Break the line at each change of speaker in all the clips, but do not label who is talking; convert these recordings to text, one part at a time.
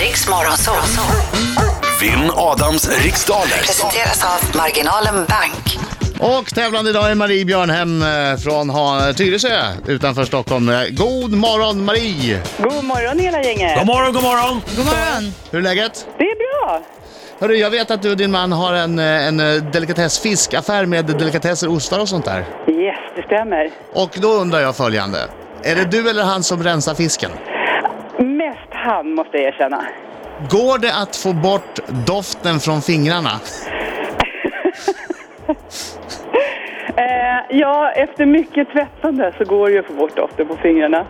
Riks Morgonzoo.
Vinn Adams riksdaler.
Presenteras av Marginalen Bank.
Och tävlande idag är Marie Björnhem eh, från Ha- Tyresö utanför Stockholm. Eh, God morgon Marie!
God morgon hela gänget.
God morgon, god morgon!
God morgon.
Hur är läget?
Det är bra.
Hörru, jag vet att du och din man har en, eh, en eh, delikatessfiskaffär med delikatesser, ostar och sånt där.
Yes, det stämmer.
Och då undrar jag följande. Är det du eller han som rensar fisken?
Mest han måste jag erkänna.
Går det att få bort doften från fingrarna?
Eh, ja, efter mycket tvättande så går det ju att få bort doften på fingrarna.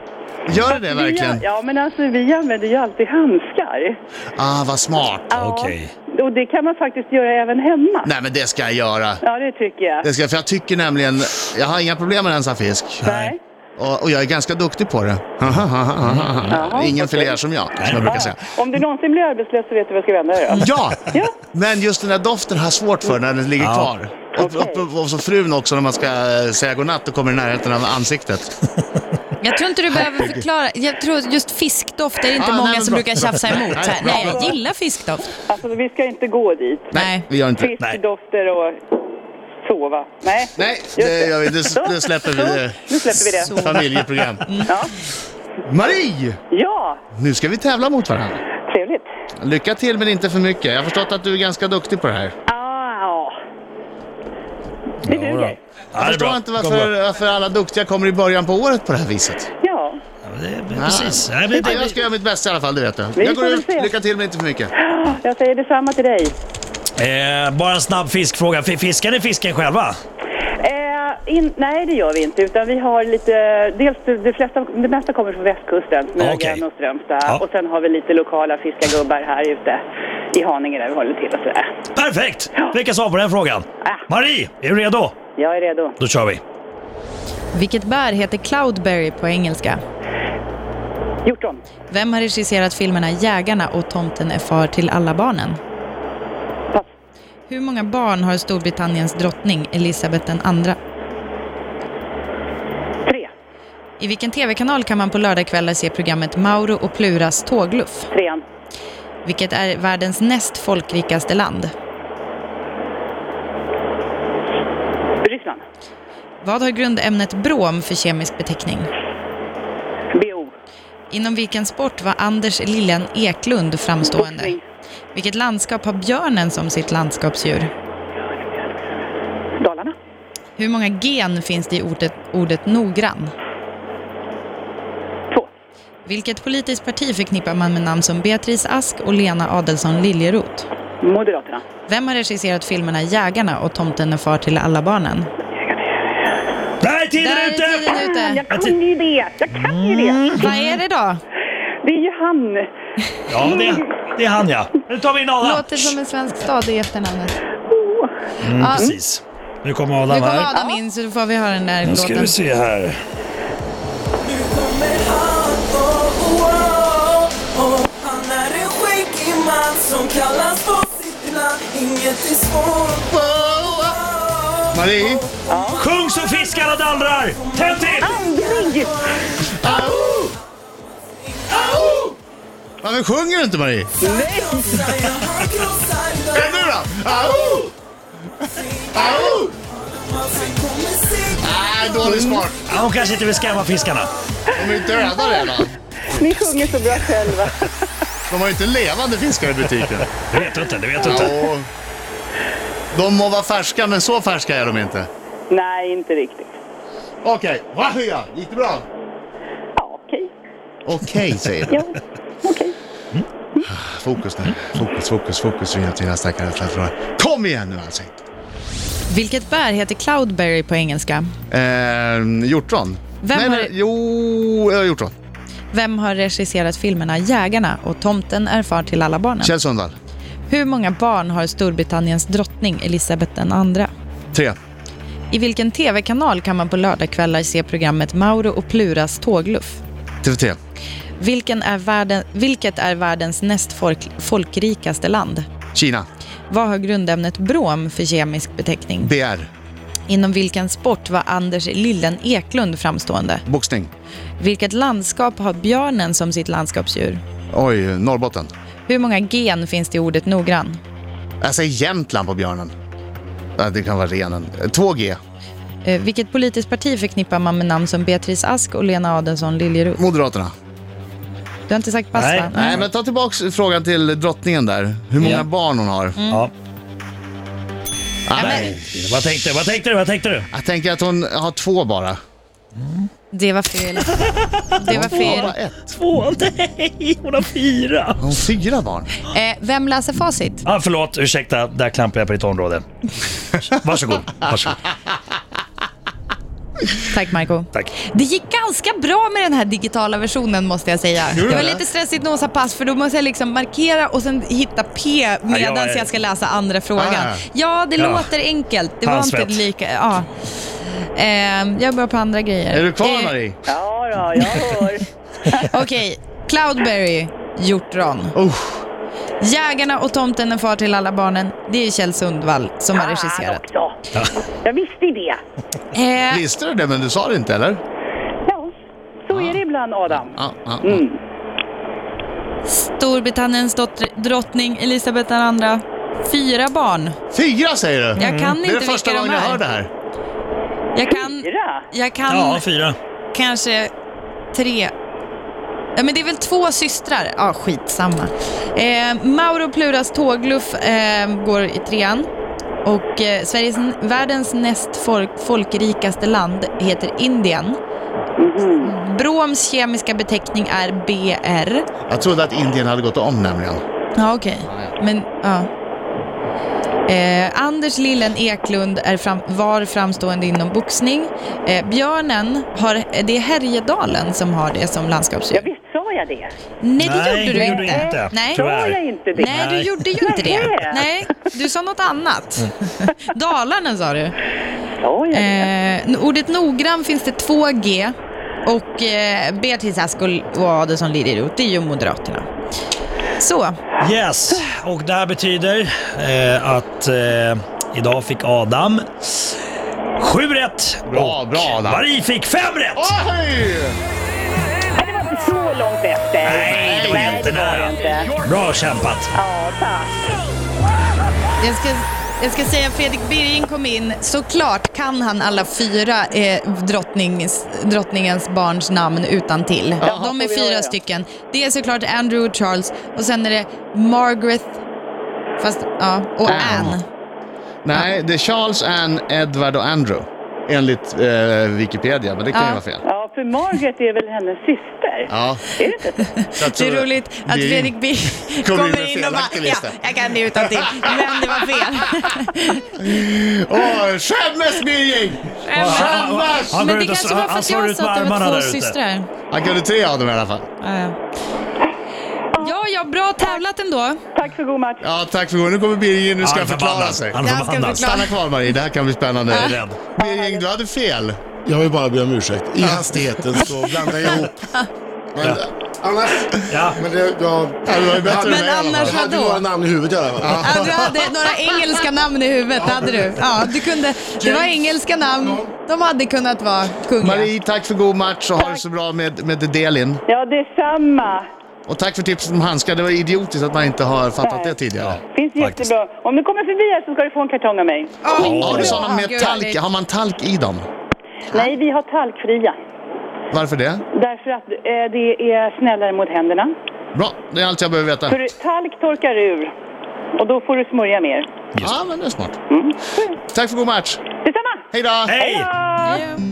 Gör det det verkligen?
Vi, ja, men alltså vi använder ju alltid handskar.
Ah, vad smart.
Ja,
Okej.
Och det kan man faktiskt göra även hemma.
Nej men det ska jag göra.
Ja, det tycker jag.
Det ska, jag- för jag tycker nämligen, jag har inga problem med att rensa fisk.
Nej.
Och, och jag är ganska duktig på det. Ingen
Mm. okej.
filéer som jag, som jag brukar säga.
Om du någonsin blir arbetslös så vet du vad jag ska vända dig då.
Ja!
Ja.
Men just den där doften har jag svårt för när den ligger
Ja.
kvar. Och,
Okej.
och, och så frun också när man ska eh, säga godnatt och kommer i närheten av ansiktet.
Jag tror inte du behöver förklara. Jag tror just fiskdoft är inte
Ah,
många
nej, men
som
bra.
brukar tjafsa emot.
Nej,
Så här,
bra.
nej, jag gillar fiskdoft.
Alltså vi ska inte gå dit.
Nej.
Vi gör inte det.
Fiskdofter och sova. Nej.
Nej,
Just
det gör vi. Det, det släpper vi.
Så,
Det
Nu släpper vi det.
är familjeprogram.
Ja.
Marie!
ja,
Nu ska vi tävla mot varandra.
trevligt.
Lycka till men inte för mycket. Jag har förstått att du är ganska duktig på det här.
Ah, det duger.
Ja,
Jag
det är
förstår
bra.
inte
Kom,
varför,
bra.
varför alla duktiga kommer i början på året på det här viset.
Ja,
Ja, det är- Precis. Nej, men
Ja, jag
det-
ska göra mitt bästa i alla fall, det vet du.
Vi
Jag går
får väl
ut.
se.
Lycka till men inte för mycket.
jag säger detsamma till dig.
Eh, bara en snabb fiskfråga. F- Fiskar ni fisken själva?
Eh, in, nej, det gör vi inte. Utan vi har lite, dels det, flesta, det mesta kommer från västkusten, Smögen
Ah, Okej.
och Strömstad.
Ja.
Och sen har vi lite lokala fiskargubbar här ute i Haninge där vi håller till och sådär.
Perfekt! Vilka svar på den frågan? Marie, är du redo?
Jag är redo.
Då kör vi.
Vilket bär heter cloudberry på engelska?
Hjortron.
Vem har regisserat filmerna Jägarna och Tomten är far till alla barnen?
Pass.
Hur många barn har Storbritanniens drottning Elisabeth II?
Tre.
I vilken tv-kanal kan man på lördagkvällar se programmet Mauro och Pluras tågluff?
Trean.
Vilket är världens näst folkrikaste land?
Ryssland.
Vad har grundämnet brom för kemisk beteckning?
BO.
Inom vilken sport var Anders Liljan Eklund framstående?
Boxning.
Vilket landskap har björnen som sitt landskapsdjur?
Dalarna.
Hur många gen finns det i ordet, ordet noggrann?
Två.
Vilket politiskt parti förknippar man med namn som Beatrice Ask och Lena Adelsohn Liljeroth?
Moderaterna.
Vem har regisserat filmerna Jägarna och Tomten är far till alla barnen?
Där är tiden
Där är
ute!
tiden ute!
Jag kan ju det! Jag kan ju det!
Vad är det då?
Mm. Det är ju han.
Ja, det, det är han ja. Nu tar vi in Adam.
Låter som en svensk stad i efternamnet.
Mm, precis. Nu kommer
Nu
Adam
kommer
här.
Adam in så då får vi höra den där
Nu ska
låten.
vi se här.
Nu kommer han, oh, oh, oh, oh. Han är en skäggig man som kallas på sitt namn Inget är svårt,
Marie?
Sjung så fiskarna dallrar! Tänd till!
Ah.
Aldrig!
Au! Au! Varför sjunger du inte Marie?
krossar jag, han krossar
Kom
jag
nu då! Au! Au!
Man sen kommer segra
Nej, dålig smak.
Ja, hon kanske inte vill skrämma fiskarna.
De är ju döda redan.
Ni sjunger så bra själva.
De har ju inte levande fiskar i butiken.
Det vet du inte, det vet du inte.
Ja. De må vara färska, men så färska är de inte.
Nej, inte riktigt.
Okej, okay. gick det bra?
Ja, okej.
Okej, säger du.
Ja, okej.
Fokus nu. Fokus, fokus, fokus. Vi har till nästa karaktär. Kom igen nu alltså.
Vilket bär heter cloudberry på engelska?
Eh, hjortron?
Vem
nej,
har-
nej, Jo, eh, hjortron.
Vem har regisserat filmerna Jägarna och Tomten är far till alla barnen?
Kjell Sundvall.
Hur många barn har Storbritanniens drottning Elisabeth II?
Tre.
I vilken tv-kanal kan man på lördagkvällar se programmet Mauro och Pluras tågluff?
TV3.
Vilken är världen, vilket är världens näst folk, folkrikaste land?
Kina.
Vad har grundämnet brom för kemisk beteckning?
BR.
Inom vilken sport var Anders Lillen Eklund framstående?
Boxning.
Vilket landskap har björnen som sitt landskapsdjur?
Oj, Norrbotten.
Hur många gen finns det i ordet noggrann?
Jag säger Jämtland på björnen. Ja, Det kan vara renen. 2G.
Eh, vilket politiskt parti förknippar man med namn som Beatrice Ask och Lena Adelsohn Liljeroth?
Moderaterna.
Mm. Du har inte sagt pass,
Nej.
va?
Nej, men ta tillbaks frågan till drottningen där. Hur många
Ja.
barn hon har.
Ja.
Ah,
Mm. Nej,
Vad tänkte du? Vad tänkte du? Vad tänkte du?
Jag tänker att hon har två bara.
Det var fel. Det var
Hon
fel.
har ett.
Två? Nej, hon har fyra.
Hon har fyra barn.
Eh, vem läser facit?
Ah, förlåt, ursäkta. Där klampade jag på ditt område. Varsågod. Varsågod.
Tack, Marco.
Tack.
Det gick ganska bra med den här digitala versionen måste jag säga.
du
Det
det?
var lite stressigt att nåsa pass för då måste jag liksom markera och sen hitta P medan
jag är-
jag ska läsa andra frågan.
Ah.
Ja, det
Ja.
låter enkelt. Det var inte
Handsvett.
lika... Ja. Ehm, jag börjar på andra grejer.
Är du kvar,
Eh,
Marie?
Ja, då, jag hör.
Okej, Cloudberry, hjortron.
Usch.
Jägarna och tomten är far till alla barnen. Det är Kjell Sundvall som har regisserat.
Fan också. Jag visste ju det.
Eh,
Visste du det, men du sa det inte, eller?
Ja, så är det ibland, Adam.
Ja, ja, ja.
Mm.
Eh, Storbritanniens dotter, drottning Elisabeth II. Fyra barn.
Fyra, säger du? Mm.
Jag kan
Det är
inte
det första
vilka de
gången jag hör det
är.
här.
Jag kan,
Fyra?
jag kan
Ja, fyra.
kanske tre. Ja, men det är väl två systrar? Ja, skitsamma. Eh, Mauro Pluras tågluff eh, går i trean. Och eh, Sveriges, världens näst folk, folkrikaste land heter Indien. Broms kemiska beteckning är BR.
Jag trodde att Indien hade gått om nämligen.
Ja, okej. Men, ja. Eh, Anders Lillen Eklund är fram, var framstående inom boxning. Eh, björnen, har, det är Härjedalen som har det som landskapsdjur.
Jag visst sa jag det?
Nej, det
Nej,
gjorde
det
du
gjorde
inte.
jag inte.
Nej.
Tyvärr.
Sa jag inte det?
Nej, du
Nej.
gjorde ju inte det.
Nej.
Nej, du sa något annat.
Mm.
Dalarna sa du.
Sa jag det?
Eh, n- ordet noggrann finns det två G och eh, Beatrice Ask och- och Adelsohn Liljeroth, det är ju Moderaterna. Så,
Yes, och det här betyder eh, att eh, idag fick Adam sju rätt.
Bra,
och
bra, Adam.
Marie fick fem rätt!
Oj!
Nej, det var inte så långt efter.
Nej, det var inte nära.
inte.
Bra kämpat!
Ja, tack.
jag ska, jag ska säga Fredrik Birging kom in. Såklart kan han alla fyra eh, drottnings, drottningens barns namn utan till. De
får
är
vi göra
fyra
det.
stycken. Det är såklart Andrew och Charles och sen är det Margaret fast, ja, och Anne.
Nej, det är Charles, Anne, Edward och Andrew. Enligt eh, Wikipedia, men det kan ju
Ja.
vara fel.
Ja, för Margaret är väl hennes syster?
Ja.
Är det inte så?
så jag
Det
tror-
är roligt att
det är-
Fredrik Birging
Kom in med
kommer in och bara,
felaktig
ja,
lista."
jag kan det utan till, men det var fel.
Åh, skämmes Birging! Skämmas!
Han går
Men det
ut och
kanske
så-
var för
han
att
slår
jag
ut
sa
med
att det
armarna
var
där
två
ute.
systrar.
Han kunde tre av dem i alla fall.
Ja, ja. Ja, ja, bra tävlat ändå.
Tack för god match.
Ja, tack för det. Nu kommer Birging, nu ska han förklara
förbannad.
sig.
Han är
Jag ska
förbannad.
förklara.
Stanna kvar Marie, det här kan bli
Jag är
spännande.
rädd.
Birging, du hade fel.
Jag vill bara be om ursäkt. I hastigheten så blandade jag ihop. Men,
Ja.
Annars...
Ja.
Men det, jag,
Ja, det var ju bättre än
Men
mig i alla fall.
annars-
jag hade
Vadå?
några namn i huvudet i alla fall.
Ja, du hade några engelska namn i huvudet, hade du. Ja, du kunde, det var engelska namn. De hade kunnat vara kungliga.
Marie, tack för god match och ha det så bra med, med Delin.
Ja, detsamma.
Och tack för tipset om handskar. Det var idiotiskt att man inte har fattat det tidigare.
Finns
Faktiskt.
jättebra. Om du kommer förbi här så ska du få en kartong av mig.
Oj,
Har du
bra.
sådana med
Gud,
talk? Har man talk i dem?
Nej, vi har talkfria.
Varför det?
Därför att eh, det är snällare mot händerna.
Bra, det är allt jag behöver veta.
För talk torkar ur. Och då får du smörja mer.
Mm.
Ja, men det är smart. Tack för god match.
Detsamma!
Hej då!
Hej!
Ja.
Hej.